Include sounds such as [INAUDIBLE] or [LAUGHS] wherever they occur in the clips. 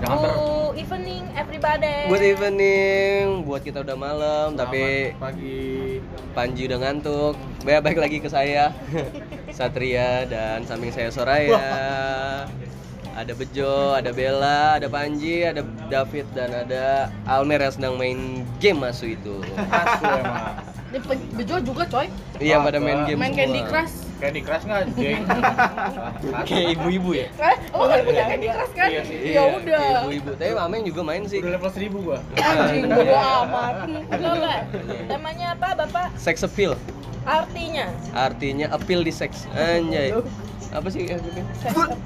Jangan ter Good evening everybody. Oh. Good evening buat kita udah malam tapi Selamat pagi Panji udah ngantuk. Baik baik lagi ke [LAUGHS] saya Satria dan samping saya Soraya. Ada Bejo, ada Bella, ada Panji, ada David dan ada Almer yang sedang main game masuk itu. [LAUGHS] Asu emang Ini pe- Bejo juga coy. Iya pada main game Main semua. Candy Crush. Kayak di keras nggak, [LAUGHS] Jeng? Kayak ibu-ibu ya. Eh, oh, kan punya Candy Crush kan? Iya sih, Ya udah. kayak Ibu-ibu. Tapi Ameng juga main sih. Udah level 1000 gua Anjing bodo Iya. amat. Enggak, Pak. Temanya apa, Bapak? Sex appeal. Artinya. Artinya appeal di seks. Anjay. Apa [LAUGHS] sih Ya. appeal?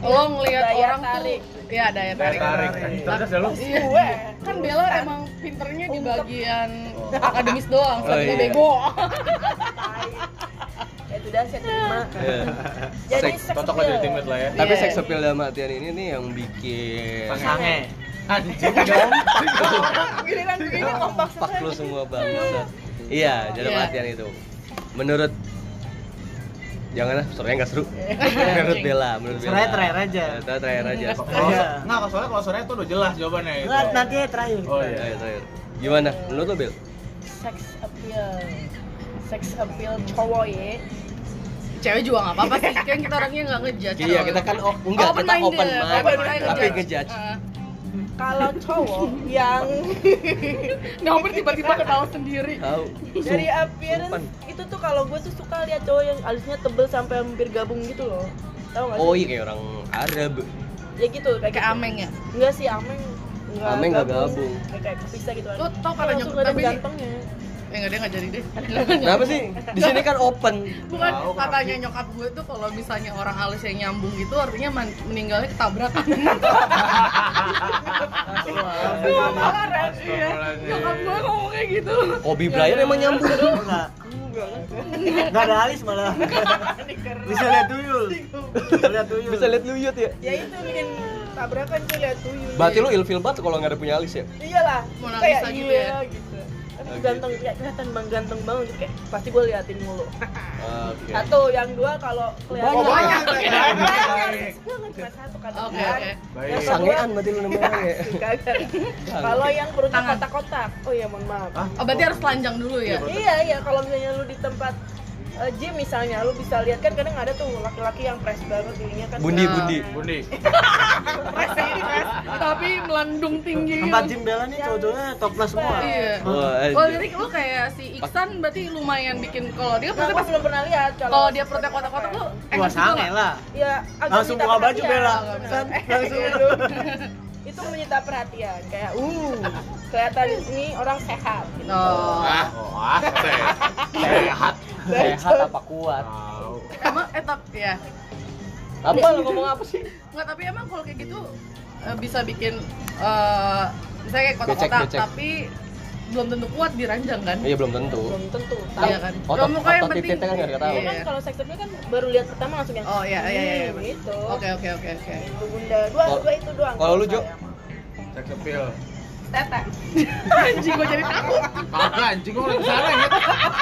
lo ngelihat Daya orang tarik. tuh ya daya tarik Tarik, cerdas dah lu Iya. Gue. kan Bella emang pinternya di Ungkep. bagian akademis doang Oh, sebagai iya. bego [LAUGHS] Ya sudah saya terima. Jadi Seks. sex Cocok lah jadi appeal. teammate lah ya Tapi Iya. seks appeal dalam artian ini nih yang bikin Pasangan Anjing Ah, dong Giliran begini ngompak Pak lu semua bangsa. Iya, dalam Iya. artian itu. Menurut Janganlah, soalnya nggak seru. menurut Bella, menurut Bella. Soalnya terakhir aja. Soalnya terakhir aja. iya, Kalau- Iya. Nggak, kalau soalnya kalau sore itu udah jelas jawabannya gitu. Nggak, nanti aja terakhir. Oh iya Terakhir, terakhir. Gimana? Menurut lo, Bel? sex appeal. Sex appeal cowok ya. cewek juga nggak apa-apa sih kan kita orangnya nggak ngejudge Iya, kita kan oh, enggak, kita Open-minded, open mind, open-minded. tapi ngejudge. Eh, Kalau cowok [LAUGHS] yang Nyomer tiba-tiba ketawa sendiri Tahu. dari appearance Sumpah. itu tuh kalau gue tuh suka lihat cowok yang alisnya tebel sampai hampir gabung gitu loh tau gak sih? Oh iya kayak orang Arab. ya gitu kayak kayak gitu. ameng ya enggak sih ameng enggak Ameng nggak gabung. Kayak- kayak kepisah gitu kan Lu tau kata Langsung nggak ada nyokap tapi sih. gantengnya eh nggak dia nggak jadi deh Kenapa sih? Di sini kan open. bukan Tahu, kenapa katanya sih? nyokap gue tuh kalau misalnya orang alisnya nyambung gitu artinya man- meninggalnya [LAUGHS] ketabrakan Astagfirullahaladzim. Parah sih ya. Astagfirullahaladzim. nyokap gue ngomong kayak gitu Kobe Bryant emang nyambung. Enggak. Enggak ada alis malah. Bisa lihat tuyul. Bisa lihat Iya. tuyul. Bisa lihat luyut ya. ya itu bikin tabrakan tuh lihat tuyul Berarti lu ilfil banget kalau nggak ada punya alis ya? iyalah Mau nangis kayak lagi tuh iya ya. gitu tapi Oh, gitu. ganteng kayak kelihatan bang ganteng banget gitu. kayak pasti gue liatin mulu Oke. satu yang dua kalau kelihatan Banyak. banyak Baik. Gue nggak cuma satu kan oke oke Iya. Baik. Sangean berarti lu namanya ya. [LAUGHS] Kagak. Kalau yang perutnya Tangan. kotak-kotak. Oh iya, mohon maaf. Ah, Hah? oh berarti harus telanjang dulu ya Iya, iya, kalau misalnya lu di tempat eh, gym misalnya lu bisa lihat kan kadang ada tuh laki-laki yang press banget dirinya kan Bundi, Nah, bundi. Bundi. [LAUGHS] tapi melendung tinggi gitu. Tempat gym Bella nih cowok-cowoknya topless semua. Iya. Wah, Oh, anjir. jadi lu kayak si Iksan berarti lumayan bikin kalau dia Nah, pasti gua pas belum pernah lihat kalau dia perutnya kotak-kotak lu Wah, enak juga sange Eh, nggak? gitu lah. ya agak Langsung menyita buka baju perhatian. Bella. Benar. Kan? Eh, Langsung. iya dong. [LAUGHS] itu menyita perhatian kayak uh kelihatan ini orang sehat gitu. Oh. Ah, oh, ah, sehat. Sehat. sehat apa kuat Tahu. Emang eh tapi ya. apa lu ngomong apa sih Enggak, tapi emang kalau kayak gitu eh, bisa bikin eh misalnya kayak kotak-kotak Becek, becek. tapi belum tentu kuat diranjang kan? iya belum tentu belum tentu tahu Iya kan. otot Cuma otot titiknya kan nggak ada tahu Cuma kan Iya. kalau sektornya kan baru lihat pertama langsung yang Oh iya iya iya. iya. "Hmm," gitu Oke oke oke oke. Itu bunda dua Kalau- dua itu doang kalau lu, Jo? saya mah. Sex appeal. tete Anjing gua jadi takut. Kagak anjing gua udah kesana ya.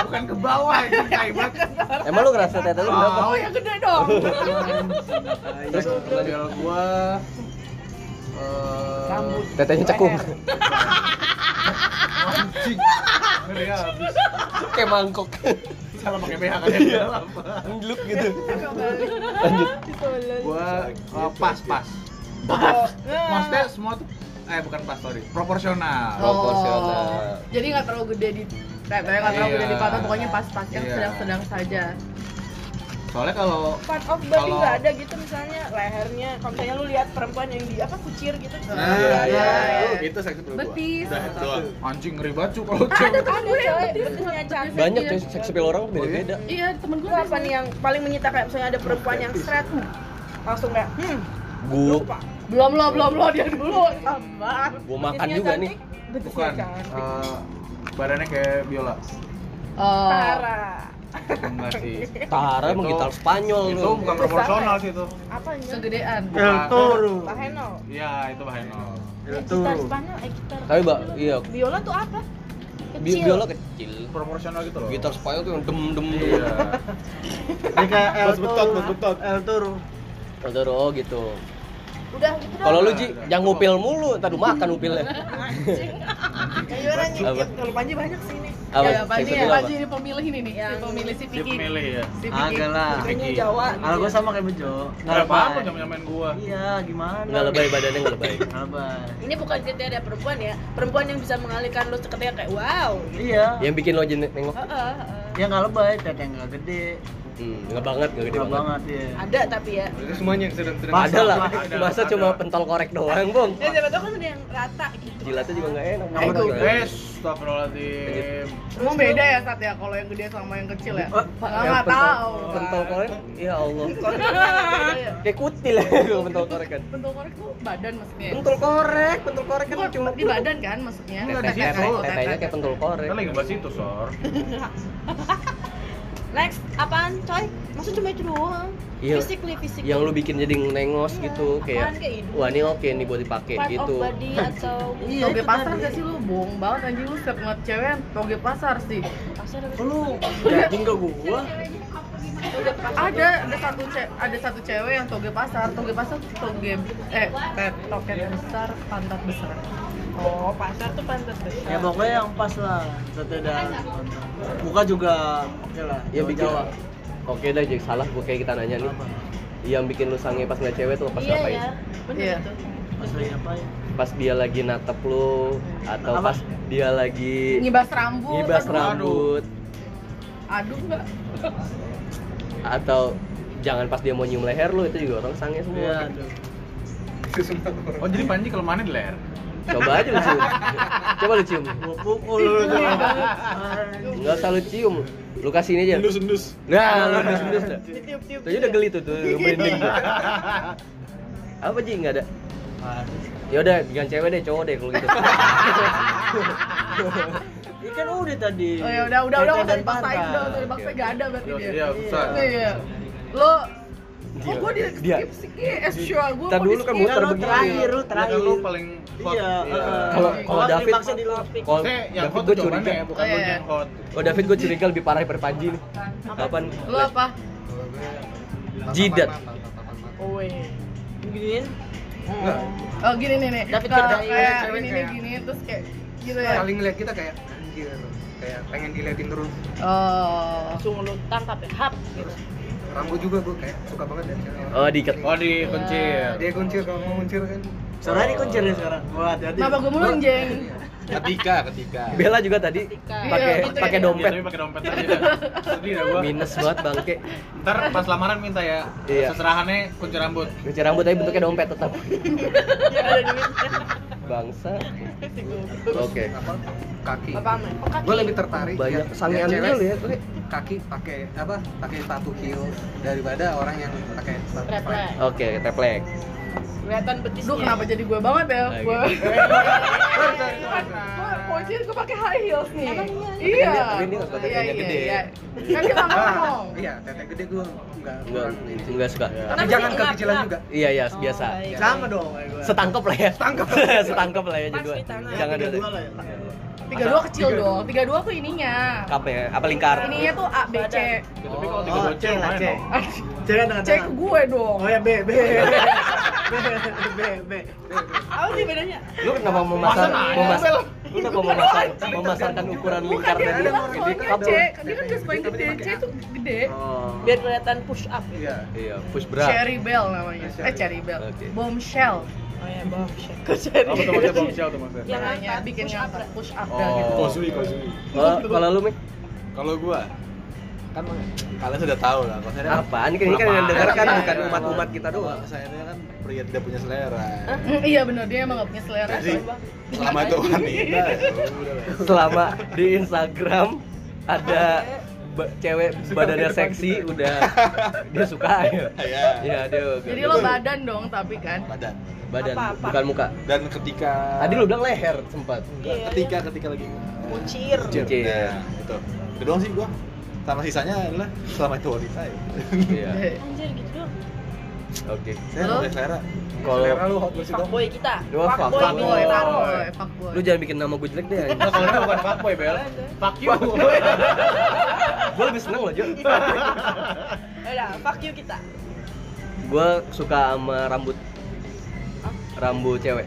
Bukan ke bawah anjing tai banget. emang lu ngerasa tete lu berapa Oh, yang gede [LAUGHS] dong. Terus appeal gua eh, Rambut. tetenya cekung Anjing. Ngeri abis. kayak mangkok Salah pakai BH kan ya. [LAUGHS] ngelup gitu Gua eh, pas pas. Oh, Maksudnya semua tuh eh bukan pas sorry proporsional. Proporsional. Jadi nggak terlalu gede di tetenya nggak terlalu Iya. gede di pantat, pokoknya pas-pas yang Iya. sedang-sedang saja. Soalnya kalau part of body Kalau- nggak ada gitu misalnya lehernya kalau misalnya lu lihat perempuan yang di apa kucir gitu Nah, Iya, iya, iya. iya. Itu sex appeal gua. Betis. Udah, itu doang. Anjing ngeri banget cu kalau cewek. ada coy betulnya cantik banyak coy seks appeal orang tuh beda-beda Iya, temen gue Lu apa nih yang paling menyita kayak misalnya ada perempuan yang seret uh, langsung kayak hmm gua lupa Belum lo, belum lo dia dulu. apaan gua makan juga nih betusnya Bukan. cantik eh, badannya kayak biola. Oh. parah Enggak sih. Tara emang Itu- gitar Spanyol Itu lu bukan proporsional sih itu. apa nih Segedean. El Toro. baheno Iya, itu bahaya. El gitar Toro. Spanyol eh gitar Tapi, Mbak, iya. biola tuh apa Bi- kecil biola kecil Proporsional gitu loh. gitar [LAUGHS] Spanyol tuh yang dem dem dem Iya. Dia kayak El Bos Toro. betot, bos betot. El Toro. Totoro gitu. Udah gitu dah. Kalau lu Ji, jangan ngupil mulu, tadi makan ngupilnya. Ayo orang Apa? nyicip. Kalau Panji banyak sih ini. Apa? Ya, Yang Panji, ya, kedua apa? Panji ini pemilih ini nih, si Yang- pemilih si Piki. milih ya Si Piki. Agak lah. Putranya Peggy. Jawa. Kalau gitu ya. gua sama kayak Bejo. nggak apa apa lebay. sama nyamain gua Iya, gimana? Nggak lebay badannya nggak lebay. Nggak lebay. Ini bukan kriteria perempuan ya. Perempuan yang bisa mengalihkan lu seketika kayak wow. Iya. Yang bikin lo jadi nengok. Heeh, heeh. Ya nggak lebay, teteh nggak gede. Hmm, nggak banget, nggak gede Nggak banget. banget ya. Ada tapi ya. Itu semuanya yang sedang-sedang. Mas- Ada lah, Ada, masa ada. cuma pentol korek doang, Bung. Ya siapa tahu kan ada yang rata gitu. Jilatnya juga nggak enak. Nggak Bung. enak. guys Astagfirullahaladzim Emang beda ya saat ya kalau yang gede sama yang kecil ya? Eh, Nggak Yang nggak pentol- tahu. Pentol korek, ya Allah. Beda. Kayak kutil ya kalau pentol korek kan. Bentuk korek tuh badan maksudnya. ya? Pentol korek, pentol korek kan Bukan cuma di badan kan maksudnya. Tetenya Tetek, kayak- tetek, tetenya tetek. kayak pentol korek. kita lagi ngebahas itu sor Next, apaan coy? Maksud cuma itu doang. Iya. Physically, physically. Yang lu bikin jadi nengos gitu Iya, kayak apaan kayak hidung. wah ini oke nih buat dipakai part gitu. of body [LAUGHS] atau Iya, toge pasar gak sih lu? Bohong banget anjing lu setiap ngeliat cewek yang toge pasar sih. pasar Oh, Lu judging ke gua? Ada ada satu ce ada satu cewek yang toge pasar. Toge pasar tuh toge eh tet, toket besar, pantat besar. oh pasar tuh pantas besar Ya pokoknya yang pas lah, teteh dan muka juga oke lah. Ya bikin Jawa. Oke dah jadi salah gue kayak kita nanya nih. Apa? Yang bikin lu sange pas ngeliat cewek tuh pas iya ngapain? ya bener Iya. tuh Pas lagi ya? ngapain? Pas dia lagi natap lu atau Apa? pas dia lagi Ngibas rambut. ngibas aduh. rambut Aduh enggak. atau jangan pas dia mau nyium leher lu itu juga orang sange Iya, semua. aduh. oh jadi Panji kelemahannya di leher Coba aja lu cium. Coba lu cium. Gua pukul lu tuh. Enggak usah lu cium. Lu kasih ini aja. Endus-endus. Nah, lu endus-endus dah. tiup-tiup Tadi udah geli tuh, tuh merinding. Apa Ji? Enggak ada. Ya udah, jangan cewek deh, cowok deh kalau gitu. Ikan kan udah tadi. Iya. Oh ya udah udah udah enggak Teteh usah dan dipaksain, pantat. udah enggak usah dipaksain, enggak ada berarti Iya, dia. iya susah Iya. Lo Gila. Kok gue di Dia. skip sih? Eh, sure, gue Ntar dulu kan muter Iya, lu begini. terakhir, lu Ya terakhir. kan lu paling hot Iya. Iya. eh, Kalau kalau orang David, dipaksa di lock-pick. kalau Maksudnya yang Oh, David hot gue tuh curiga. jawabannya ya bukan Oh, lu iya. yang hot Kalau David gue curiga lebih parah daripada Panji nih. Kapan? Lo apa? Jidat. Owe. Giniin. Oh gini nih nih. David Kalau Cerdaya, kayak cewek ini nih kayak- gini terus kayak gitu ya. Kali ngeliat kita kayak anjir, kayak pengen diliatin terus. Oh. langsung lu tangkap ya hap gitu Rambut juga gue kayak suka banget ya. Oh, diikat. oh di kuncir Dia kuncir kalau mau kuncir kan. Soalnya ini kuncir nih sekarang. Wah, hati-hati. Kenapa gue Nah, mulu jeng? Ketika, ketika. Bella juga tadi Iya, pakai gitu pakai ya. dompet. pakai dompet tadi dah. sedih dah gua Minus banget bangke. ntar pas lamaran minta ya Iya. seserahannya kunci rambut Cuci rambut tapi bentuknya dompet tetap. Iya, ada duitnya Bangsa. Oke. Apa? Kaki. apa aman oh kaki Gue lebih tertarik Banyak lihat- sangean lihat juga cewek lu ya. Oke. kaki pakai apa pakai sepatu heels daripada orang yang pakai sepatu Triplek. flat. Oke, teplek. kelihatan Iya. betisnya Duh kenapa jadi gue banget ya? Lagi. Gue Sorry, sorry, sorry. gue kuncinya gue pakai high heels nih. Emang Iya. Tapi dia- tapi dia nggak suka Iya, tetenya iya, gede. iya. Kan kita Ah, ngomong. iya tete gede gue nggak Enggak kurang ini. enggak suka. tapi Kenapa Oh, jangan sih kekecilan gelap-gelap? juga Iya, iya, biasa. baik. Sama dong kayak gua. Setangkep lah ya. Setangkep. [LAUGHS] Setangkep lah ya Pas jadi dua. di tanah. Jangan Tiga ada. dua lah ya. Tiga dua kecil dong. Tiga dua tuh ininya. Apa ya? Apa lingkar? Ininya tuh A B C. Ya, tapi kalau tiga Oh, bocil cek lah, lumayan cek. dong [LAUGHS] Cek kan tangan Cek tangan. gue dong. Oh ya B [LAUGHS] B. B B B. apa sih bedanya Lu kenapa memasar memasar Masa nanya, lu kenapa memasar memasarkan ukuran Bukan lingkar kan dia tadi? bilang Ini soalnya kan C. Dia kan gak suka yang tapi gede. dipakai C tuh gede. Oh. biar kelihatan push up ya iya Iya, push bra. Cherry Bell namanya. Eh Cherry Bell. Oke. Bombshell. oh ya bom Gua cari. apa tuh maksudnya bombshell tuh maksudnya yang Iya. Namanya angkat bikin bikin yang apa push up Oh. dah gitu. Kosui, kosui Kalau kalau lu Mik Kalau gua kan kalian sudah tahu lah kalau saya apaan? Ini kan yang denger kan bukan umat-umat kita doang. Kalau saya ini kan pria tidak punya selera. Hmm, Iya benar dia emang gak punya selera. Jadi soalnya. selama itu wanita. ya udah lah. Selama di Instagram ada ba- cewek badannya seksi udah dia suka ya. Iya. Iya, dia. Jadi lo badan dong tapi kan. Badan. badan Apa-apa. bukan muka. Dan ketika Tadi lu bilang leher sempat. Enggak, Iya, ketika ketika lagi Kucir. Kucir. Nah, itu. Itu doang sih gua. Sama sisanya adalah selama itu wanita ya. Iya. anjir gitu dong Oke. Lo? Saya nggak punya selera. Kalau lu hot bersih fuckboy kita Dua fuckboy Fuckboy, kita fuckboy, fuckboy. Eh, lu jangan bikin nama gue jelek deh. Nah, kalau dia bukan fuckboy bel fuck you gue lebih seneng loh Jo. Ya udah fuck you kita gue suka sama rambut rambut cewek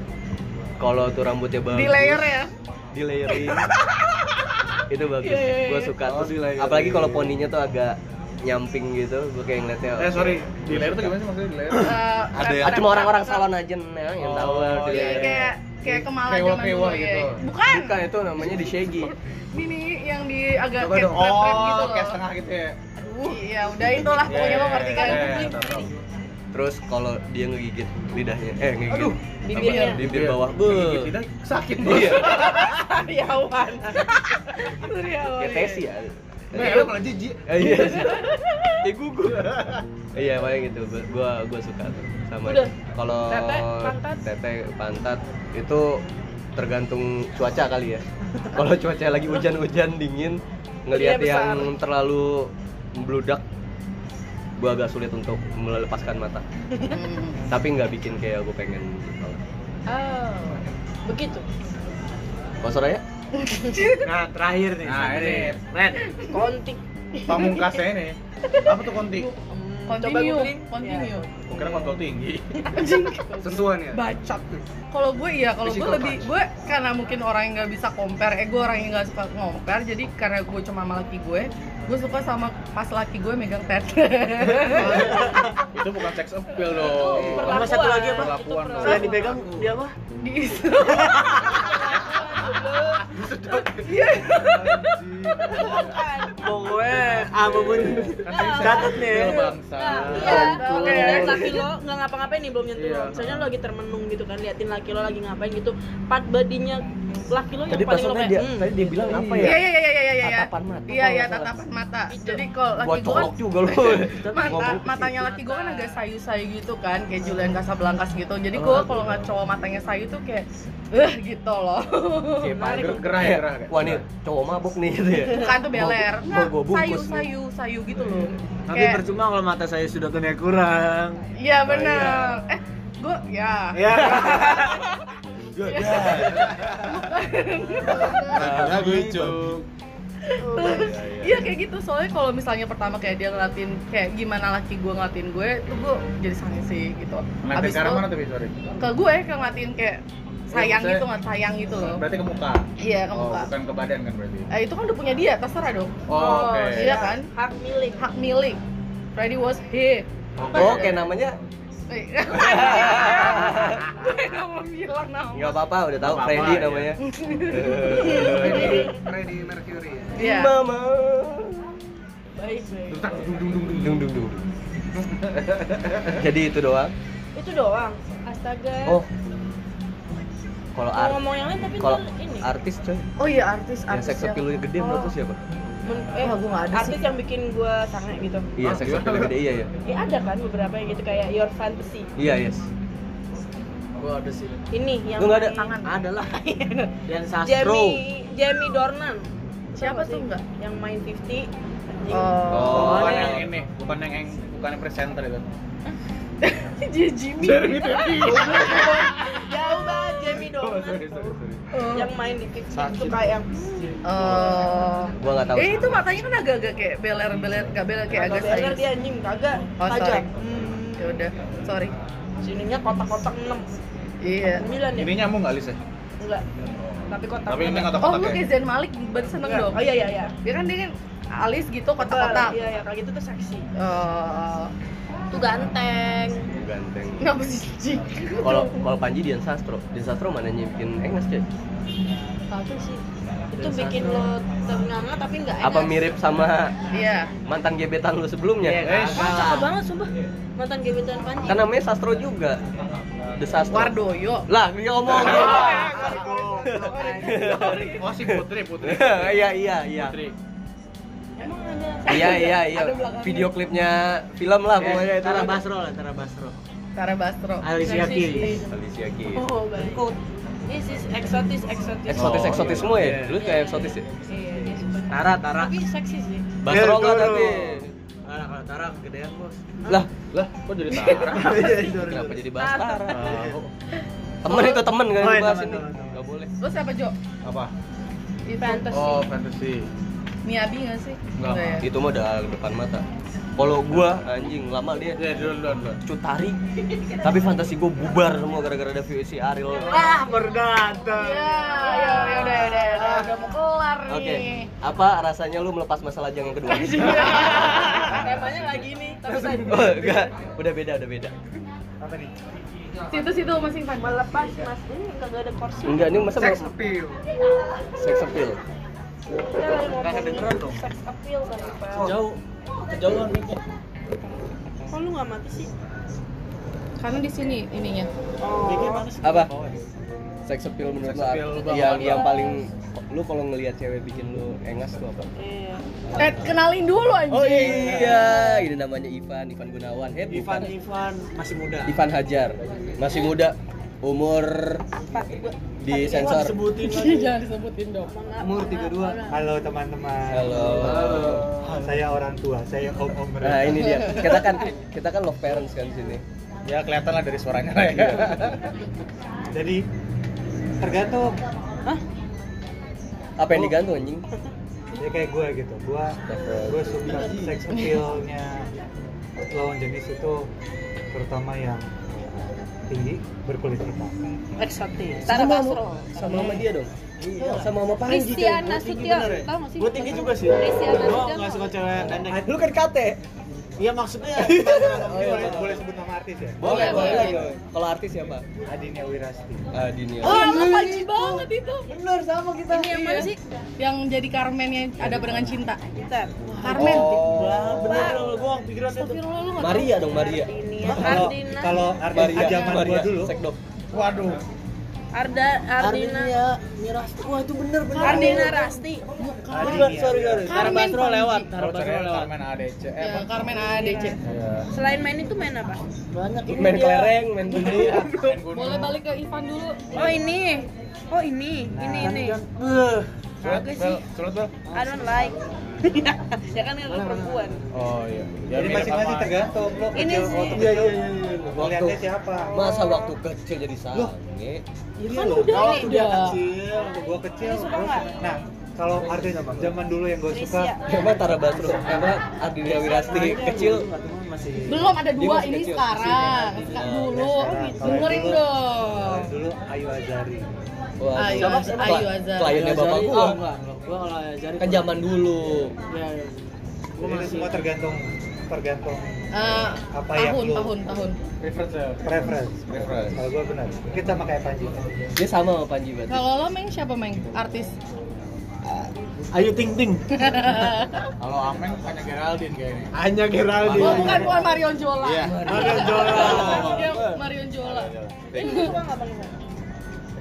kalau tuh rambutnya bagus Di layer ya. di layering itu bagus Iya, iya, iya. gue suka Oh, Terus, di layering. apalagi kalau poninya tuh agak nyamping gitu gue kayak ngeliatnya iya. Eh sorry, di layer tuh gimana sih maksudnya di layer? Eh, Ada rap- yang- Ah, rap- cuma orang-orang rap- salon aja nah, yang tahu Oh, lah di iya, Iya, layering. kayak kayak kemala zaman Kewa-kewa dulu ya. gitu. Bukan. bukan itu namanya di shaggy Ini nih yang di agak Coba kayak dong. rap-rap gitu Oh, loh. kayak setengah gitu ya. Iya, udah itulah pokoknya lo ngerti kan. Iya, iya, iya, tahu, tahu. terus kalau dia ngegigit lidahnya eh ngegigit Aduh, apa, bibirnya. bibir bawah Iya, be gigit lidah sakit bos. Iya. Oh, Sariawan. Sariawan. kayak tesi ya Nah, lu malah jijik. Eh, [LAUGHS] iya sih kayak gugup iya paling gitu Gua- gua gua suka tuh sama Udah. kalau Tete, pantat. tete pantat itu tergantung cuaca kali ya [LAUGHS] kalau cuaca lagi hujan-hujan dingin ngelihat Iya, besar. yang terlalu membludak gua agak sulit untuk melepaskan [LAUGHS] mata tapi nggak bikin kayak gua pengen gitu. Oh, Hmm. begitu. Kalau Soraya? Nah, terakhir nih. Nah, ini Ren. Kontik. pamungkasnya ini. Apa tuh konti? Continue, Iya. googling. continue. Gua kira kontol tinggi. Sesuai nih. Bacot. Kalau gue iya, kalau gue Physical lebih touch. gue karena mungkin orang yang nggak bisa compare, eh gue orang yang nggak suka compare, jadi karena gue cuma sama laki gue, gue suka sama pas laki gue megang tete. [LAUGHS] Itu bukan sex appeal Itu dong. perlakuan. Sama satu lagi apa? Itu Perlakuan. perlakuan. Selain dipegang dia apa? Di Pokoknya apapun catat nih. ya. Bangsa. Iya, Betul. kayak liat laki lo nggak ngapa-ngapain nih belum nyentuh Iya. lo. Misalnya lo lagi termenung gitu kan, liatin laki lo lagi ngapain gitu. Part badinya laki lo yang Tadi paling lo pasangannya kayak, dia, "Hmm." tadi dia bilang apa ya? Iya iya iya iya iya iya. Tatapan mata, Iya iya kalau nggak salah. tatapan mata. Itu. Jadi kalau Gua laki gue colok juga [LAUGHS] lu. mata Ngomong. gitu. Hmm. matanya laki gue kan agak sayu-sayu gitu kan kayak Julian Casablancas gitu. Jadi Oh, gue kalau nggak cowok matanya sayu tuh kayak eh gitu [LAUGHS] loh. Kayak Menarik. pager- Gerah ya, gerah. Iya. Wah nih cowok mabuk nih gitu ya. Bukan tuh beler. Mau- Nah, mau gua sayu bungkus nih. Hmm. sayu sayu gitu loh. Tapi Kayak- percuma kalau mata saya sudah kena kurang. Oh, Iya benar. Eh gue Iya, ya. [LAUGHS] Ya. Ya, ya. Nah, lucu. Iya kayak gitu soalnya kalau misalnya pertama kayak dia ngeliatin kayak gimana laki gue ngeliatin gue tuh gue jadi sih gitu. Nanti Abis sekarang itu- mana tuh, Bi? sorry? ke gue kayak ngatiin kayak sayang maksudnya- gitu nggak sayang gitu loh Berarti ke muka. iya ke Oh, muka bukan ke badan kan berarti. Eh, itu kan udah punya dia terserah dong Oh, oke. iya kan Hak milik. hak milik Freddy was his Oh kayak namanya Eh, [LAUGHS] gue nggak mau bilang nggak nama apa-apa udah tahu Nggak apa-apa, Freddy ya. namanya. Ready, Freddie Mercury ya? Iya. [LAUGHS] Mama. Baik, baik. Dutak, dung, dung, dung, dung. Dung dung dung. Jadi itu doang. Itu doang. Astaga. Oh. Kalau Mau art ngomong yang lain tapi kalau ntar ini. artis coy, oh iya artis yang artis seks yang- appeal-nya gede menurut lu siapa? Men- eh, Wah, gua nggak ada artis yang bikin gue sange gitu. Iya, seks appeal-nya gede iya ya. Ya ada kan beberapa yang gitu kayak Your Fantasy. Iya, yes. Gua ada sih. Ini yang Lu nggak ada? di- Tangan. Ada [LAUGHS] lah. Dan Sastro. Jamie Jamie Dornan. Tau Siapa nggak tuh sih? nggak? Yang main 50. anjing. oh, Bukan Oh. yang ini, bukan yang yang bukan yang presenter [LAUGHS] itu. dia Jimmy Jeremy Pepi. Jauh banget Jamie Oh, Dornan. sorry, sorry, sorry. Oh. Yang main di 50 tuh kayak yang Oh. Gua nggak tahu. eh itu matanya kan agak-agak kayak beler-beler nggak beler kayak agak Bener dia sayang anjing kagak Oh, sorry. tajam. Hmm. ya udah sorry Sininya kotak-kotak 6. iya 9 ya? Ini nyambung nggak Lis ya? Enggak. Tapi kotak. Tapi ini nggak oh kotak gue ya? kayak Zayn Malik berarti seneng Enggak. dong Oh iya iya iya. dia kan dia kan alis gitu kotak-kotak Iya iya kayak gitu tuh seksi. Eh, Tuh ganteng. Ganteng. Kenapa sih Cik? Kalau kalau Panji Dian Sastro, Dian Sastro mana bikin enges coy? Satu sih. Itu bikin lo ternganga tapi enggak enak. Apa mirip sama Iya mantan gebetan lu Eh, sebelumnya? Iya, Ah, cakep banget sumpah. Mantan gebetan Panji. Kan namanya Sastro juga. The Sastro. Wardoyo Ah, Lah, dia ngomong. [LAUGHS] Oh si Putri, Putri. Iya, iya, iya. Putri. Emang ada. Iya, iya, iya. Ada belakangnya. Iya. Video klipnya film lah pokoknya itu. Tara Basro lah, Tara Basro. Tara Basro Alicia Keys. Alicia Keys. Oh, baik. This is eksotis eksotis. Eksotis eksotis semua Iya. ya? Dulu kayak eksotis ya? Iya, dia suka. Tara, Tara. Tapi seksi sih. Basro Eh, nggak Toro. tapi? Tara, kalau Tara gedean bos. Lah, Lah, kok jadi Tara? Iya, kenapa jadi Bastara? Tahu. Temen itu temen nggak Ah. Oh, iya, dibahas temen, ini. temen, temen. Nggak boleh. Lo siapa Jo? Apa? Itu Fantasy. Oh, fantasy. Miabi nggak sih? Nggak. Nggak ya? Itu mah udah depan mata. Kalau gua anjing lama dia Ya, duluan, duluan, duluan. cutari. Tapi fantasi gua bubar semua gara-gara ada si Ariel. Ah, baru datang. Ya, ya, ya udah, udah, udah, udah mau kelar Oke, nih. apa rasanya lu melepas masa lajang yang kedua? Temanya lagi nih, tapi tadi oh, enggak, udah beda, udah beda. Apa nih? Situ-situ masing Van. melepas mas ini nggak ada kursi. Enggak, ini masa Sex melepas- appeal. sex appeal. Nggak kedengeran dong. Sex appeal kan Pak. Jauh. Kejauhan mikir. Kok lu nggak mati sih? Karena di sini ininya. Mikir mana sih? Apa? Sex appeal menurut Sex lu appeal apa? banget. yang yang paling lu kalau ngelihat cewek bikin lu engas tuh apa? Iya. Eh, kenalin dulu anjing. Oh iya, ini namanya Ivan, Ivan Gunawan. Eh, bukan. Ivan Ivan masih muda. Ivan Hajar. Masih muda, umur di sensor. Sebutin Ih, lagi. Jangan disebutin dong. Umur 32. Iya, Halo teman-teman. Halo. Oh. Saya orang tua, saya om-om Nah, ini dia. Kita kan kita kan love parents kan di sini. Ya kelihatan lah dari suaranya lah [LAUGHS] ya. Jadi tergantung Apa yang digantung anjing? ya kayak gue gitu gue gue suka sex appealnya lawan jenis itu terutama yang tinggi berkulit hitam Eksotis. Sama sama, sama sama dia dong. Iya, Sama sama Panji kan. Kristiana ya. Sution, tau gak sih? gue tinggi juga sih Christian gue Asution nggak suka tau. cewek yang pendek Lu kan kate. Ah, iya [LAUGHS] maksudnya Oh, iya, boleh boleh sebut nama artis ya Boleh, boleh. Kalau artis siapa? Oh. Adinia Wirasti Adinia. Wah, lu panji banget itu. bener sama kita Ini yang mana sih? Yang jadi Carmennya ada barengan cinta. Bentar. Carmen. Oh. bener gue pikiran itu Astagfirullah lu enggak Maria dong Maria. Ini kalau Ardina. kalau artis Maria, zaman gue Maria. dulu Sekdok. Waduh. Arda Ardina. Mirasti wah itu bener bener Ardina Rasti. Bukan, sorry sorry Carmen lewat. Kalau cewek Carmen ADC. Eh, Ya, Carmen ADC. Selain main itu main apa? Main kelereng, main gundu. Boleh balik ke Ivan dulu. Oh ini. Oh ini. Ini ini. Sulut, Bagus Bel. sih. Sulut, Bel. I don't like. [LAUGHS] ya kan lu perempuan. Oh iya. Ya, jadi mirip masing-masing sama- tergantung lo Ini kecil sih. mau Iya, kecil Lo liatnya siapa Masa waktu kecil jadi sange? ini Kan lo kalau waktu Iya, Udah. Oh, dia kecil waktu gua kecil Ini suka gua nggak? suka. nah kalau artis zaman dulu yang gua suka Krisya. Emang Tara Basro, emang Adinia Wirasti kecil masih Belum ada Dia dua masih ini kecil. sekarang. Sekarang dulu. Dengerin dong. dulu Ayu Azari Wah, Ayu siapa? Az- Kla- Ayu Azhar. Kliennya bapak gua. Oh, gua kalau Azari Kan zaman dulu. gua masih semua tergantung tergantung Eh, Apa yang tahun, lu- tahun, tahun. Reference ya. preference Reference. kalau gua benar kita sama kayak Panji Dia sama sama Panji berarti. Kalau lo main siapa main? Artis. Ayu Ting Ting Kalau Ameng hanya Geraldine kayaknya. Anya Geraldine Oh, bukan bukan Marion Jola. [LAUGHS] Iya. Marion Jola. Dia Marion Jola. Ini suka nggak bang?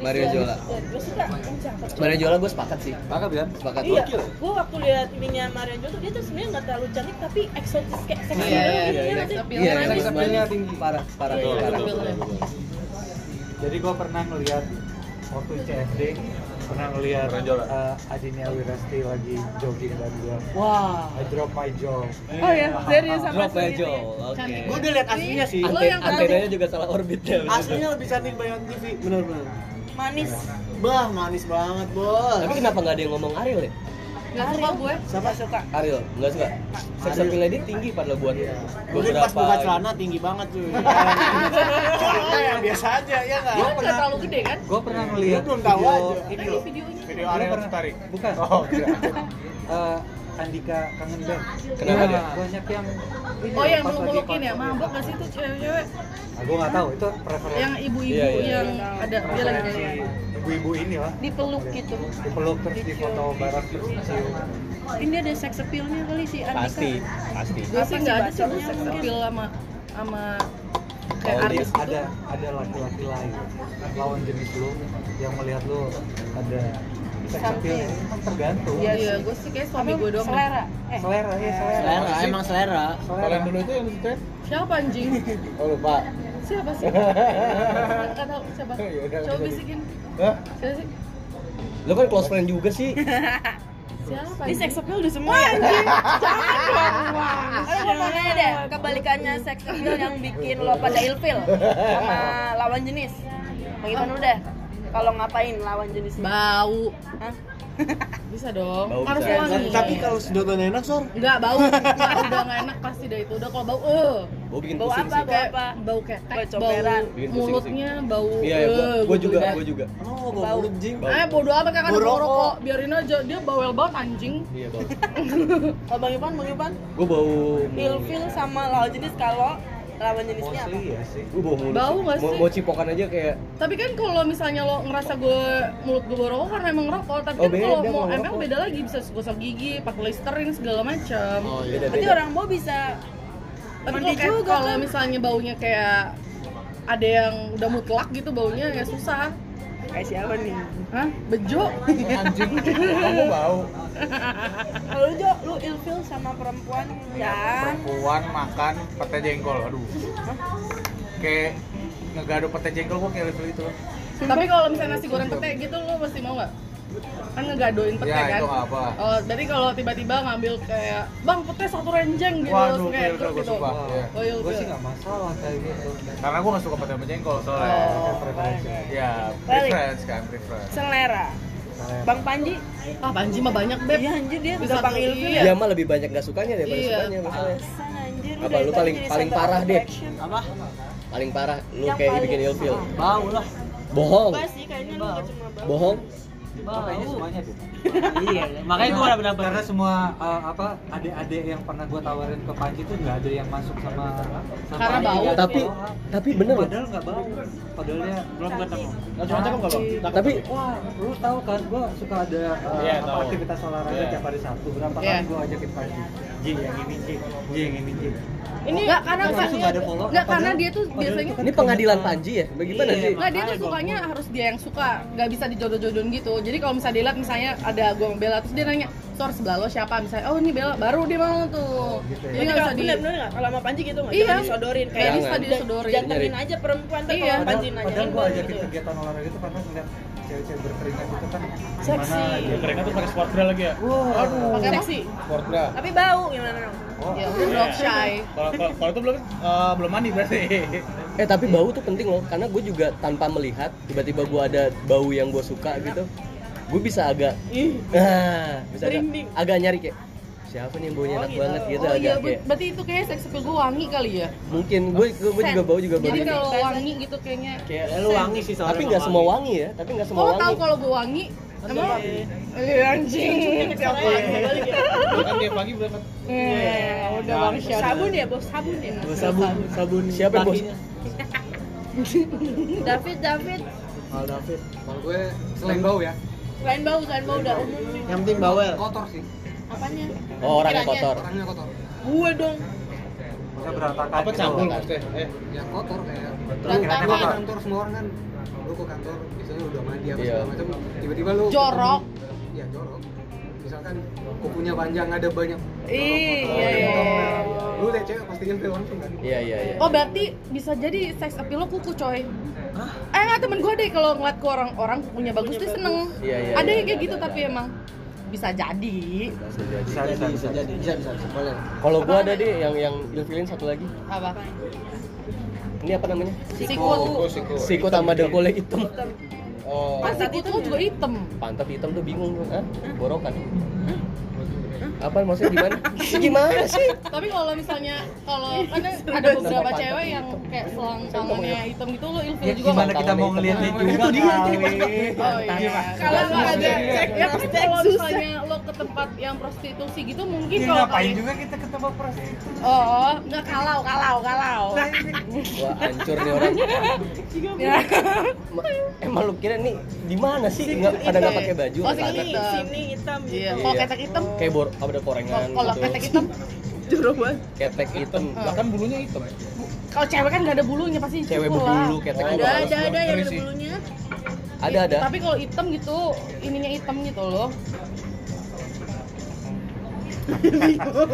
Mario Jola. Gue suka yang cakep. Mario Jola gue sepakat sih. Maka kan? Sepakat. Iya, gue waktu lihat ininya Mario Jola tuh dia tuh sebenarnya nggak terlalu cantik tapi eksotis kayak seksi Iya, banget, iya, iya nggak iya. sih? Tapi Iya, yang sex manis. appeal-nya tinggi. Parah, parah, Iya, parah. sex appeal-nya. Jadi gue pernah ngeliat waktu CFD pernah ngeliat Pernah jualan? eh, Adinia Wirasti lagi jogging dan gue Wah. I drop my jaw. Oh ya, serius sama Drop sendiri. Jola. Oke. Cantik. Gue udah liat aslinya sih. Lo Ante- yang Antenanya juga salah orbitnya. Aslinya lebih cantik bayangan TV. Bener-bener. Manis. Bah, manis banget bos. Tapi kenapa nggak ada yang ngomong Ariel ya? Gak suka gue. Siapa suka? Ariel, nggak suka. Sex Ariel. appeal-nya dia tinggi padahal buat Mungkin pas buka beberapa. celana tinggi banget [LAUGHS] tuh. Celana yang biasa aja ya nggak? Gue nggak terlalu gede kan? Gue pernah ngeliat. Gue belum tahu aja. Ini Ini videonya. Video Ariel pernah- tertarik. Bukan. Oh, enggak. Eh, Andika kangen band. Iya, Kenapa dia? Banyak yang ini Oh yang pas lagi meluk-melukin ya, konser. mabok gak sih tuh cewek-cewek? Aku Nah, nggak tahu itu preferensi. Yang ibu-ibu Iya, iya. yang ada dia lagi preferensi jalan. ibu-ibu ini lah. Dipeluk gitu. Dipeluk terus di foto bareng terus dicium. Ini ada sex appeal-nya kali si Andika. Pasti, pasti. Gue sih nggak ada sih Apa sih sex appeal sama sama kayak Oh, Jadi artis gitu. itu. ada ada laki-laki lain lawan jenis lu yang melihat lu ada sex appeal ya, itu kan tergantung. Iya, gue sih kayak suami gue doang. Selera. Eh, Selera ya selera. emang selera. Kalau yang dulu itu yang straight? Siapa [LAUGHS] anjing? Oh lupa. Siapa sih? Gak tau siapa. Oh, iya, Ya udah, Coba udah. bisikin. Hah? Siapa sih? Lo kan close friend juga [LAUGHS] sih. Siapa? ini anjing? sex appeal udah semua ya? Jangan dong. Ayo gua mau nanya deh, kebalikannya sex appeal yang bikin lo pada ilfil sama lawan jenis. Bagaimana udah? Kalau ngapain lawan jenis? Bau. Hah? Bisa dong. Bau Harus bisa. wangi. Tapi kalau sedotan enak, Sor. Enggak [LAUGHS] bau, Enggak, udah nggak enak pasti dari itu. Udah kalau bau, eh. Bau bikin Bau pusing apa? sih. Bau apa? Bau ketek, Bau bau comberan. Bikin pusing-pusing. mulutnya, bau. Iya, iya, gua, eh, gua juga, gua gua juga. Emang lo Bau. bau mulut jing? Bau. Eh, bodo amat kan ada Bau bau rokok. rokok. Biarin aja, dia bawel banget anjing. Iya, bau. Kalau Oh, Bang Ipan, Bang Ipan, Hmm. Gua bau mulut. ilfil sama lawan jenis kalau lawan jenisnya apa? ya. Mostly iya sih. Gua bau mulut. Bau nggak Mau, sih? mau cipokan aja kayak Tapi kan kalau misalnya lo ngerasa gue mulut gue bau rokok karena emang rokok, tapi Oh, kan kalau beda mau kalau ML rokok. beda lagi bisa gosok gigi, pakai Listerine segala macam. beda Berarti beda. orang bau bisa mandi tapi kalau kayak- juga kalau kan? misalnya baunya kayak ada yang udah mutlak gitu baunya ya susah. kayak siapa nih? Hah? [LAUGHS] Bejo? Kamu bau. Kalau lu Jo, lu ilfil sama perempuan ya. dan Perempuan makan pete jengkol. Aduh. Kayak ngegaduh pete jengkol gua kayak level itu. Gitu, tapi kalau misalnya nasi goreng pete gitu lo pasti mau nggak? Kan ngegadoin pete Ya, kan? itu nggak apa. Oh, jadi kalau tiba-tiba ngambil kayak, bang pete satu renjeng gitu, Waduh, kayak ilfil grup gua gitu. suka. Iya. Oh, ilfil. Gue sih nggak masalah kayak gitu. Karena gua nggak suka pete sama jengkol soalnya. Oh. Preferensi. Ya, Balik. preference kan, preference. selera. Bang Panji, Ah, Panji mah banyak, Beb. iya anjir dia Bisa gampang tuh, ilfil iya. ya. Dia mah lebih banyak gak sukanya daripada Iya. sukanya masalahnya. San anjir Apa, lu dari tadi paling- jadi paling satu parah, Dep? attraction. Paling parah lu Yang kayak paling- bikin ilfil. Ah. bau lah Bohong. Enggak sih, kayaknya lu nggak cuma bau. Bohong. bau Makanya semuanya tuh. iya makanya gue udah pendapat Karena semua uh, apa adik-adik yang pernah gue tawarin ke Panji tuh nggak ada yang masuk sama. sama Karena Panji. bau. Tapi tapi bener loh. Padahal nggak bau. Padahal dia belum ketemu Nah, cuma cakep nggak bang? Cakep. Tapi Wah, lu tahu kan gue suka ada uh, Iya, apa, tahu. aktivitas olahraga Iya. tiap hari Sabtu. Berapa Iya. kali gue ajakin Panji? Ji, yang ini Ji, Ji yang ini Ji. Ini nggak karena Langsung nggak ada follow. nggak karena Padahal- dia tuh padahal biasanya itu kan ini pengadilan Panji ya? Bagaimana Iya. sih? Nggak, dia tuh Makanya gua- sukanya harus dia yang suka, nggak bisa dijodoh-jodohin gitu. Jadi kalau misalnya dilihat misalnya ada gue sama Bella, terus dia nanya, "Sor sebelah lo siapa?" Misalnya, "Oh, ini Bella." Baru dia mau tuh. gitu Jadi ya. Jadi nggak kalau bisa di bener bener nggak? Kalau sama Panji gitu nggak? Iya. Jangan disodorin. Kayak Jangan. bisa disodorin. Disodorin. Jantengin aja perempuan tuh Iya. kalau Padahal, Panji nanyain padahal gue baru ajakin gitu. kegiatan olahraga itu karena ngeliat cewek-cewek berkeringat itu kan Seksi. Mereka Iya, tuh pakai sport bra lagi ya? Wah, aduh. pakai seksi. Sport bra. Tapi bau gimana? dong? Ya, udah drop shy. Kalau kalau- kalau itu belum eh, belum mandi [LAUGHS] berarti. Eh tapi bau tuh penting loh, karena gue juga tanpa melihat tiba-tiba gue ada bau yang gue suka gitu, gue bisa agak, [LAUGHS] nah, bisa agak, Merinding. agak nyari kayak siapa nih yang baunya Oh, enak gitu. banget gitu Oh agak iya, kayak ber- berarti itu kayaknya seks appeal gue wangi kali ya. mungkin gue gue juga bau juga Jadi begitu. kalau wangi gitu kayaknya Kayak Ya, lu wangi sih soalnya tapi nggak sama semua wangi. wangi ya, tapi nggak semua Kalau tahu wangi. kalau gue wangi, emang lo- Iya, anjing. Siapa Balik ya. Kan tiap pagi berangkat. Iya. Eh, udah bang Syar. Sabun ya, bos sabun ya. sabun sabun Siapa bos? kakinya. David, David, Al David. Kalau gue selain bau ya, selain bau, kan, selain bau udah umum nih. yang penting Eh. bawel kotor sih. Apanya? Oh, orangnya kotor. Orangnya kotor. Gue dong. Udah berantakan. Apa gitu. cabul maksudnya? Eh, Ya kotor kayak. Pikirannya Lu ke kotor. kantor semua orang kan lu ke kantor biasanya udah mandi apa Iya. segala macam tiba-tiba lu Jorok. ketemu- ya jorok misalkan kukunya panjang ada banyak Iya, Oh, iya. iya. lu lihat cewek pasti nyempil langsung kan Iya iya iya. Oh berarti bisa jadi sex appeal lo kuku coy Eh nggak temen gue deh kalau ngeliat ke orang-orang kukunya bagus dia seneng Iya, iya, Ada iya, yang kayak ada, gitu ada, tapi ada. emang bisa jadi Bisa jadi. Bisa, bisa, bisa. jadi bisa bisa bisa boleh Kalau gue ada deh yang yang ilfilin satu lagi. Apa? Ini apa namanya? Sikut siku. Sikut sama dengkulnya hitam. Oh. Kan sikut lo juga hitam pantat hitam tuh bingung tuh, ah borokan apa maksudnya [LAUGHS] gimana gimana sih Tapi kalau misalnya kalau karena ada beberapa Sama cewek yang kayak selang tangannya hitam gitu lo ilfil Ya, juga gimana nggak? kita mau ngeliatnya juga kan? itu dia Oh iya. Kalau lo ada, ya kan kalau misalnya lo ke tempat yang prostitusi gitu mungkin Ya, kalau ngapain juga kita ketemu prostitusi Oh, nggak kalau kalau kalau. iya, Iya. wah hancur nih orang Ma- emang lu kira nih di mana sih nggak pada nggak pakai baju Oh, anak-anak. Sini, sini hitam. [LAUGHS] Iya, gitu. kalau Iya. ketek hitam kayak bor apa ada korengan Oh, Kalau gitu. ketek Oh. hitam jorok banget. ketek hitam Bahkan bulunya hitam ya. Kalau cewek kan nggak ada bulunya pasti cewek cukur lah. berbulu ketek Ada, hitam. ada, ada yang ada Ngeri sih. bulunya. ada ada Tapi kalau hitam gitu, ininya hitam gitu [LAUGHS] loh.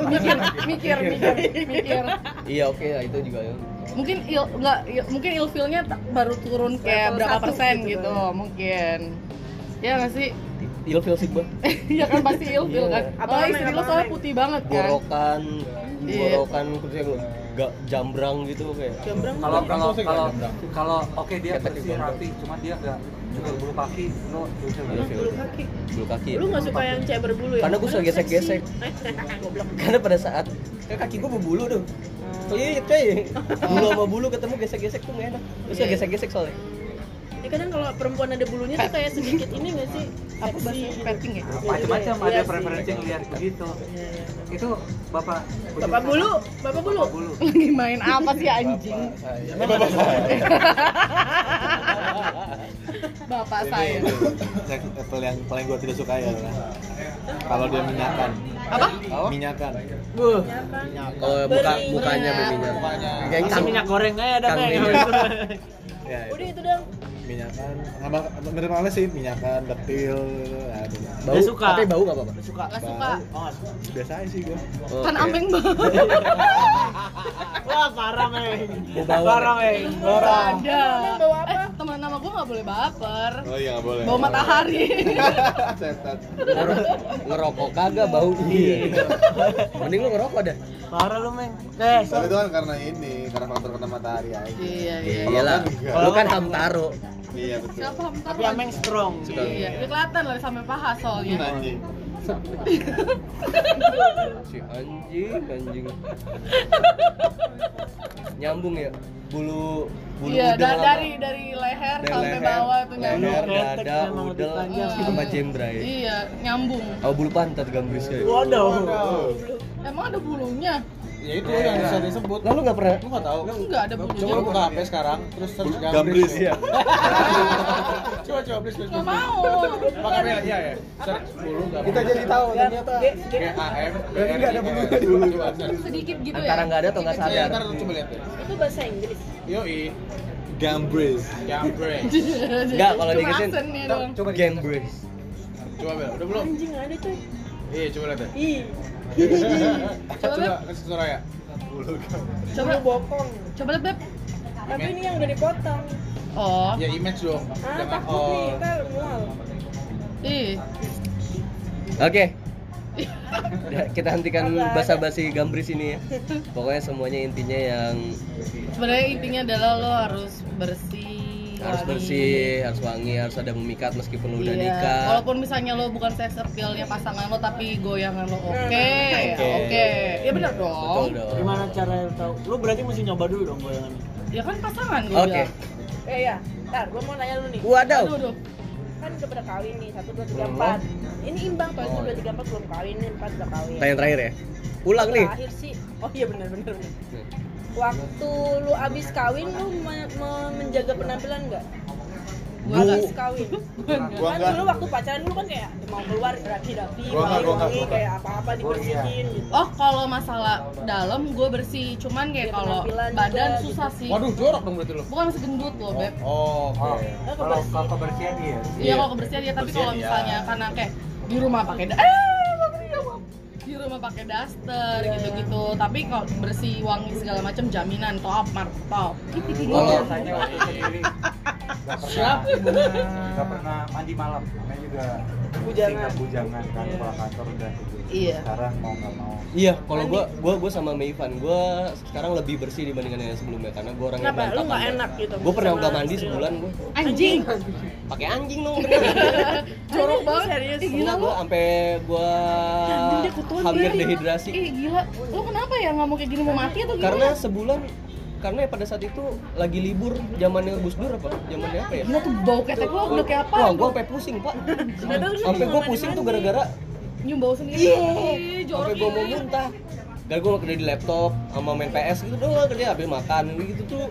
mikir, mikir, mikir, mikir. iya oke lah, itu juga ya Mungkin il, nggak, il- mungkin ilfilnya ta- baru turun kayak Level berapa satu persen gitu gitu, mungkin. Ya nggak sih? [LAUGHS] ilfil sih gua ya kan pasti ilfil Iya. kan. Apa Apalagi namanya, istri apa lo soalnya namanya? putih banget kan. borokan Iya. borokan terus yang ga- jambrang gitu kayak Jambrang kalau tuh kalau Langsung sih kalau nggak ada. kalau oke dia Ketek bersih juga. rapi cuman dia nggak juga bulu kaki lo Iya, ilfil Ilfil. gitu. bulu kaki. bulu kaki Lu nggak suka yang cewek berbulu ya? Iya. Karena gua suka gesek-gesek. Goblok. [LAUGHS] karena pada saat kan kaki gua berbulu tuh Hmm. kelilit [LAUGHS] coy bulu sama bulu ketemu gesek-gesek tuh gak enak terus Iya, iya. gesek-gesek soalnya [LAUGHS] Ya kadang kalau perempuan ada bulunya tuh kayak sedikit ini nggak sih? apa Seksi bahasa gitu. petting ya macam-macam Iya ada sih. preferensi ngelihat begitu Iya, iya. itu bapak Bapak bulu, bapak bulu. Bapak bulu [LAUGHS] lagi main apa sih anjing Emang bapak saya. [LAUGHS] bapak saya Ini seks appeal yang paling gua tidak suka ya adalah kalau dia minyakan. apa Minyakan. oh muka Berminyak. mukanya berminyak Kasih minyak goreng aja ada Kang Bang. minyak. Ya, Udah itu. itu dong. minyakan. Sama mirip halnya sih minyakan, detil, aduh. bau Dia suka. tapi bau gak apa-apa Suka. nggak suka Oh, nggak suka. Biasa aja sih gua. Oke. kan ambeng banget Wah, parah, Meng. Bau bawang, Parah, ya? Meng. Parah. ada eh teman nama gue nggak boleh baper Oh iya nggak boleh. bawa matahari [LAUGHS] Setan. Ngero- ngerokok kagak bau Iya. mending lu ngerokok dah Parah lu, Meng. Eh, Tapi itu kan karena ini, karena faktor kena matahari aja. [LAUGHS] iya iya iyalah enggak. lu kan hamtaro Iya betul. siapa hamtar tapi Ameng strong. kan iya dia kelihatan lah sampai paha soalnya Nah, Anjing. si anjing [LAUGHS] anjing nyambung ya bulu bulu iya udel da- sama- dari dari leher dari sampai leher, bawah itu nyambung leher Ketek dada sama lebih udel panjang. sama jembray iya nyambung oh bulu pantat gambusnya ya Waduh. emang ada bulunya Ya itu yang bisa disebut. lalu nggak pernah Lu nggak tahu. enggak ada Coba lu bulunya buka HP sekarang, terus search Gambris [LAUGHS] ya. Coba coba please please. nggak mau Pakai kamera iya ya. Search bulu gambris. Kita jadi tahu ternyata. G A M. Berarti nggak ada bulunya di bulu. sedikit gitu ya antara [LAUGHS] nggak ada atau nggak Iya, sadar ntar lu coba lihat ya. Itu bahasa Inggris. Yoi, Gambris. gambris. Nggak, kalau Cuma diingetin. aksennya doang. coba gambris Coba Bel, udah belum? Anjing ada coy. Iya, coba lihat ya. Ih, Coba, Beb. Coba kasih suara ya. Bulu gambris. coba bokong. coba lihat beb Tapi ini yang udah dipotong. oh Ya image dong. Ah, Jangan takut nih, all. ntar mual. Iya. ih [LAUGHS] oke Ya, kita hentikan basa-basi gambris ini ya [LAUGHS] pokoknya semuanya intinya yang sebenarnya intinya adalah lo harus bersih harus wangi. bersih harus wangi harus ada memikat meskipun lu udah Iya. nikah Walaupun misalnya lo bukan sex appeal-nya pasangan lo tapi goyangan lo oke, Oke. oke. Ya benar betul dong. dong Gimana cara lu tahu? Lu berarti mesti nyoba dulu dong goyangannya. Ya kan pasangan gue oke bilang. Eh ya, ntar gua mau nanya lu nih. waduh Aduh, aduh. Kan udah pada kawin nih, 1, 2, 3, Belum. 4 Ini imbang, soalnya 1, 2, 3, 4 belum kawin, ini 4 udah kawin Tanya yang terakhir ya ulang nih Terakhir sih, oh iya benar benar benar. Waktu lu abis kawin, lu me- me- menjaga penampilan nggak? Gua Bu. enggak Abis kawin? Gua kan nggak. dulu waktu pacaran dulu kan kayak mau keluar rapi-rapi, Gua nggak, gua nggak, wangi-wangi, gua nggak. kayak apa-apa dibersihin gitu Oh, kalau masalah dalam gue bersih, cuman kayak Ya, kalau penampilan badan juga susah sih. Waduh, jorok dong berarti lu. Bukan masih gendut lo, Beb. Oh, oh oke. kalau kalau kebersihan iya Iya, kalau kebersihan ya, tapi Kebersihan, kalau iya. misalnya karena kayak di rumah pakai da- eh, makanya nggak mau. di rumah pakai daster gitu-gitu. Tapi kalau bersih, wangi segala macam jaminan top, mark top. Gua Iya, biasanya waktu sendiri nggak pernah nggak pernah mandi malam namanya juga Bujangan. singa bujangan kan pulang kantor udah tidur. Iya. sekarang mau nggak mau Iya, kalau gua gua gua sama Meivan, gua sekarang lebih bersih dibandingkan yang sebelumnya karena gua orang yang Kenapa? Lu nggak banget. enak gitu? Gua pernah sama nggak mandi istri lu? sebulan gua. Anjing. Pakai anjing dong. bener. Jorok banget. Serius. Ih, gila Gila lu. gua sampai gua Anjing, dia kutuan hampir dia. dehidrasi. Ih, gila. Lu kenapa ya ngomong kayak gini mau mati atau gimana? Karena sebulan karena pada saat itu lagi libur zamannya Gus Dur apa? Zamannya apa ya? gila tuh bau ketek lu udah kayak apa? Wah, gua sampai pusing, Pak. Sampai gua pusing tuh gara-gara nyium bau sendiri. Iya. Ih, jorok sampai gua mau ini. muntah. Gara gua kerja di laptop sama main PS gitu doang kerja habis makan gitu tuh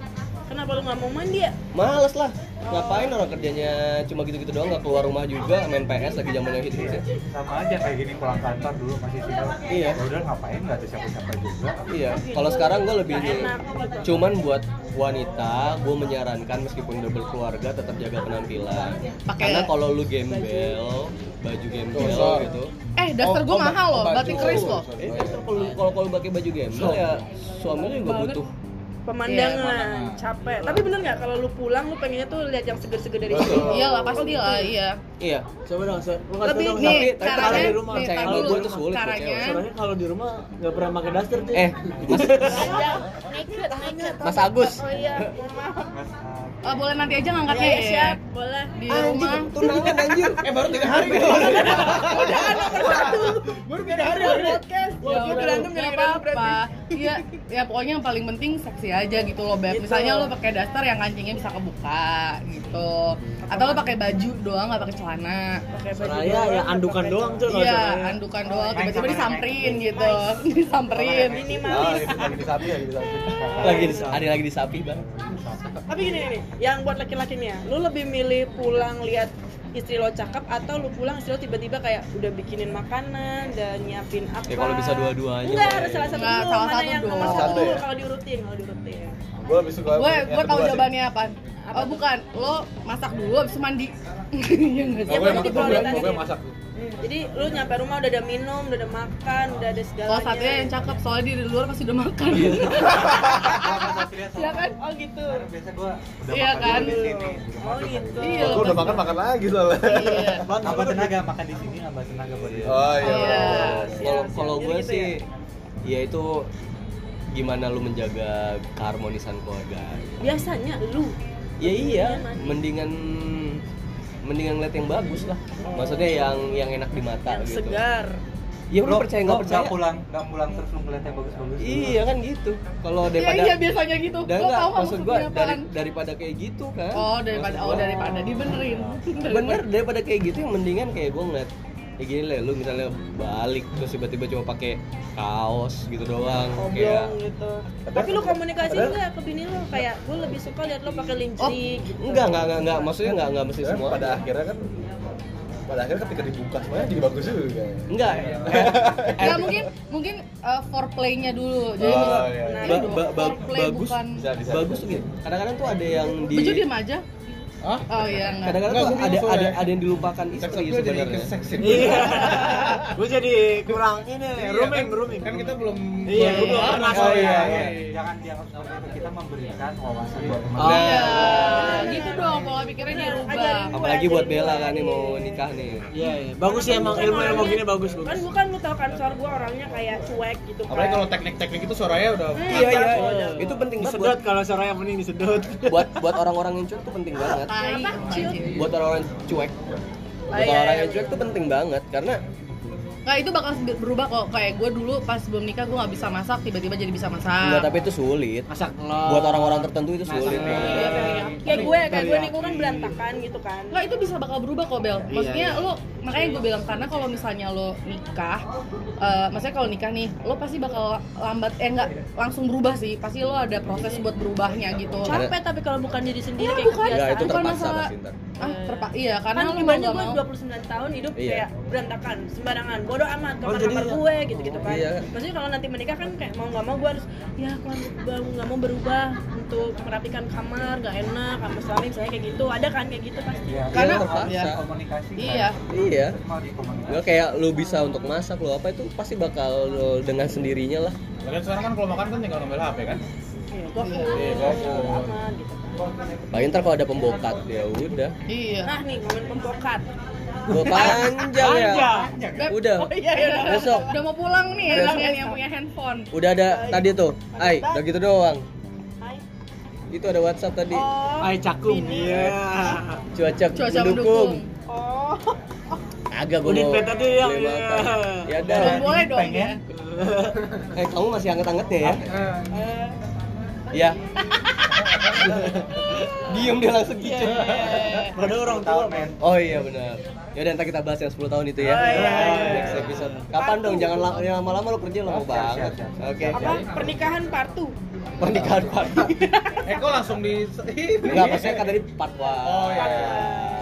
Kenapa lu nggak mau mandi ya? Males lah. Ngapain orang kerjanya cuma gitu-gitu doang nggak keluar rumah juga main PS lagi zamannya hit hit sama aja kayak gini pulang kantor dulu masih single Iya. ya udah ngapain nggak ada siapa-siapa juga Iya. Kalau sekarang gue lebih Nggak enak gitu. cuman buat wanita gue menyarankan meskipun udah berkeluarga tetap jaga penampilan. Pakai- Karena kalau lu gembel baju gembel Dosa. gitu. Eh, daster gua Oh, oh, mahal loh, baju. Oh, batik keris loh. Eh, kalau kalau kalau pakai baju gembel ya suaminya juga butuh pemandangan, pemandangan. capek. Tapi bener nggak kalau lu pulang lu pengennya tuh lihat yang seger-seger dari Betul. sini? Iya lah pasti lah iya. Iya. Coba dong, so, lu ngasih Tapi tau dong, nih, tapi- tapi kalau caranya- di rumah, nih, percaya tar kalau dulu. gua gue tuh sulit buat Caranya- cewek. soalnya kalau di rumah nggak pernah pakai daster tuh. Eh, Mas, Iya. Iya, Naked, naked. Mas Agus. Oh iya, maaf. Eh, boleh nanti aja ngangkatnya Iya, ya. siap, boleh. Di rumah. tunangan anjir eh baru tiga hari gitu baru tiga hari baru ini. Podcast. Ya Gua udah, berantem nggak gara-gara lu apa-apa. Iya, ya pokoknya yang paling penting seksi aja gitu loh, Beb. Misalnya lo pakai daster yang kancingnya bisa kebuka gitu. Atau lo pakai baju doang, nggak pakai celana. Pakai baju Soraya doang, ya andukan pakai doang tuh kalau Soraya. Iya, andukan doang tiba-tiba disamperin gitu. baju. [LAUGHS] Disamperin. Oh, Minimalis. lagi di sapi, lagi di sapi. lagi di, ada lagi di sapi bang. Tapi gini nih, yang buat laki-laki nih ya, lu lebih milih pulang lihat istri lo cakep atau lu pulang istri lo tiba-tiba kayak udah bikinin makanan dan nyiapin apa? Ya, kalau bisa dua-duanya, Enggak, Boy. harus salah satu Enggak, dulu. salah mana satu yang dulu. nomor Satu satu dulu ya? kalau diurutin, kalau diurutin. Gue lebih suka Gue yang gue tahu kedua sih. jawabannya apa. Oh bukan, lo masak dulu habis itu mandi. [LAUGHS] Iya nggak Nah, sih? Yang ya. gue yang penting masak, gue yang- kualitasnya. gue yang masak. Hmm, Jadi lu nyampe rumah udah ada minum, udah ada makan, udah ada segalanya. Salah satunya Oh, yang cakep soalnya di luar pasti udah makan. [LAUGHS] Iya kan? Oh gitu. biasa gua Udah Iya makan kan? dulu di sini. Oh gitu. Iya. Gue udah makan makan lagi soalnya. Iya. nambah tenaga makan di sini nambah tenaga buat dia Oh iya. Iya. Kalau siap. kalau Jadi gue gitu sih, ya itu gimana lu menjaga keharmonisan keluarga. Biasanya lu Nah, Ya iya, mendingan mendingan ngeliat yang bagus lah. Maksudnya yang yang enak di mata yang gitu. segar. Ya lu percaya nggak lo percaya? pulang nggak pulang terus lu ngeliat yang bagus-bagus dulu. Iya kan gitu. Kalau Iya daripada iya biasanya gitu. dan Lo nggak, tahu nggak maksud gue maksudnya dari, apaan? daripada kayak gitu kan. Oh daripada Maksud oh gua, daripada dibenerin. bener daripada kayak gitu yang mendingan kayak gue ngeliat kayak gini lah lu misalnya balik terus tiba-tiba cuma pakai kaos gitu doang ya. kayak iya. Oblong gitu. Tapi lu komunikasi enggak ke bini lu kayak gue lebih suka lihat lu pakai Oh, lingerie gitu. enggak, enggak, enggak, enggak, maksudnya enggak, enggak mesti Sebenarnya semua. Eh, pada akhirnya kan pada akhirnya ketika dibuka semuanya jadi bagus juga. [LAUGHS] Enggak. Ya mungkin mungkin eh, foreplaynya dulu. Jadi Oh, mis- iya, nah, iya. Ba- ba- ba- foreplay bagus. bukan Bisa bisa. Bagus gitu. Kadang-kadang tuh ada yang di Baju diem aja. Hah? Oh iya enggak. Kadang-kadang Enggak, tuh gua ada bingung ada soalnya. ada yang dilupakan Seks istri appeal jadi sebenarnya. keseksi. [LAUGHS] Iya. Gue jadi kurang ini nih, Iya, rooming, kan- rooming. kan kita belum Iya, belum- gua belum pernah Oh soalnya. iya, iya. Jangan dianggap seperti itu. Kita memberikan wawasan buat teman. Oh Nah. iya. Oh. Gitu dong pola pikirnya dirubah. Ajarin. Apalagi buat Bella kan nih mau nikah nih. Iya, iya. Bagus sih emang ilmu ilmu gini bagus Kan bagus. bukan lu tau kan suara gue orangnya kayak cuek gitu kan. apalagi kalau teknik-teknik itu suaranya udah Iya, iya. iya. Itu penting banget buat Disedot kalau Soraya mending disedot. buat buat orang-orang yang cuek tuh penting banget. Tai. anjing. Buat orang-orang cuek. Buat orang yang cuek tuh penting banget karena Nah itu bakal berubah kok kayak gue dulu pas belum nikah gue nggak bisa masak tiba-tiba jadi bisa enggak masak. tapi itu sulit. Masak telur. Buat orang-orang tertentu itu sulit. Iya. kayak gue kayak gue nih gue iya. kan berantakan gitu kan Nggak itu bisa bakal berubah kok Bel. Iya, Maksudnya lo makanya gue bilang karena kalau misalnya lo nikah, eh, maksudnya kalau nikah nih lo pasti bakal lambat eh nggak langsung berubah sih. Pasti lo ada proses buat berubahnya gitu. capek tapi kalau bukan diri sendiri Iya, kayak bukan. kebiasaan Enggak, Ya, itu Bukan terpaksa masalah. pasti ntar. Ah terpa iya kan karena lo gimana nggak gue mau. 29 tahun hidup Iya. kayak berantakan sembarangan bodoh amat Oh, kamar jadi kamar iya. gue gitu gitu kan Iya. maksudnya kalau nanti menikah kan kayak mau nggak mau gue harus ya gue harus mau nggak mau berubah untuk merapikan kamar nggak enak kamar suami saya kayak gitu ada kan kayak gitu pasti Iya, Karena iya, terpaksa. iya, komunikasi. kan. Iya. Iya. Mau dikomunikasi. Nggak kayak lu bisa untuk masak lu apa itu pasti bakal lu dengan sendirinya lah. Lagian sekarang kan kalau makan kan tinggal ngambil HP [LAUGHS] kan Iya, gue Iya, fokus fokus. bodo amat gitu Paling ntar kalau ada pembokat ya udah. Iya. nah nih ngomongin pembokat Gua panjang ya. Udah. iya. Besok. Udah mau pulang nih Besok. ya yang, yang punya handphone. Udah ada tadi tuh. Ai, udah gitu doang. Itu ada WhatsApp tadi. oh Ay cakum. Iya. Cuaca, mendukung. Cuaca mendukung. oh Agak gua Udin mau. pet tadi yang- beli makan. iya. Ya dah. Belum boleh dong pengen. ya. Eh, kamu masih anget-angetnya ya? Iya. [LAUGHS] Diem dia langsung gitu. Pada orang tua men. Oh iya benar. Ya udah ntar kita bahas yang 10 tahun itu Oh, ya. iya, Next episode. Kapan dong? Jangan la- yang lama-lama lo kerja lama banget. siap, Oke. apa pernikahan partu Pernikahan party. eh kok langsung di Enggak, maksudnya kan tadi part 1. Oh, iya.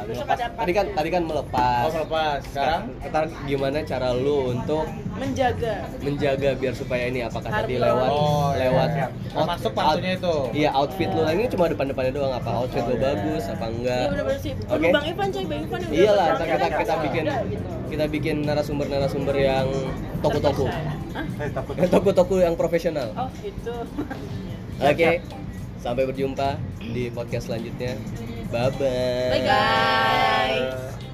Besok Melepas. ada part Tadi kan two. tadi kan melepas. oh lepas sekarang Sekarang ntar gimana cara lu untuk menjaga menjaga biar supaya ini apakah tadi Harmoni. lewat Oh, iya, lewat iya. Termasuk out- pantunya itu. Oh, iya, Iya, outfit lu. Ini cuma depan-depannya doang apa outfit lu bagus apa enggak. Iya benar-benar sih. Bukan Oke. Bang Ivan coy, Bang Ivan yang Iyalah, udah ntar kita kita bikin Udah, gitu. kita bikin narasumber-narasumber yang toko-toko. Hah? Eh, takut. Toko-toko yang profesional. Oh gitu. Oke. Sampai berjumpa di podcast selanjutnya. Bye bye. Bye guys. Bye.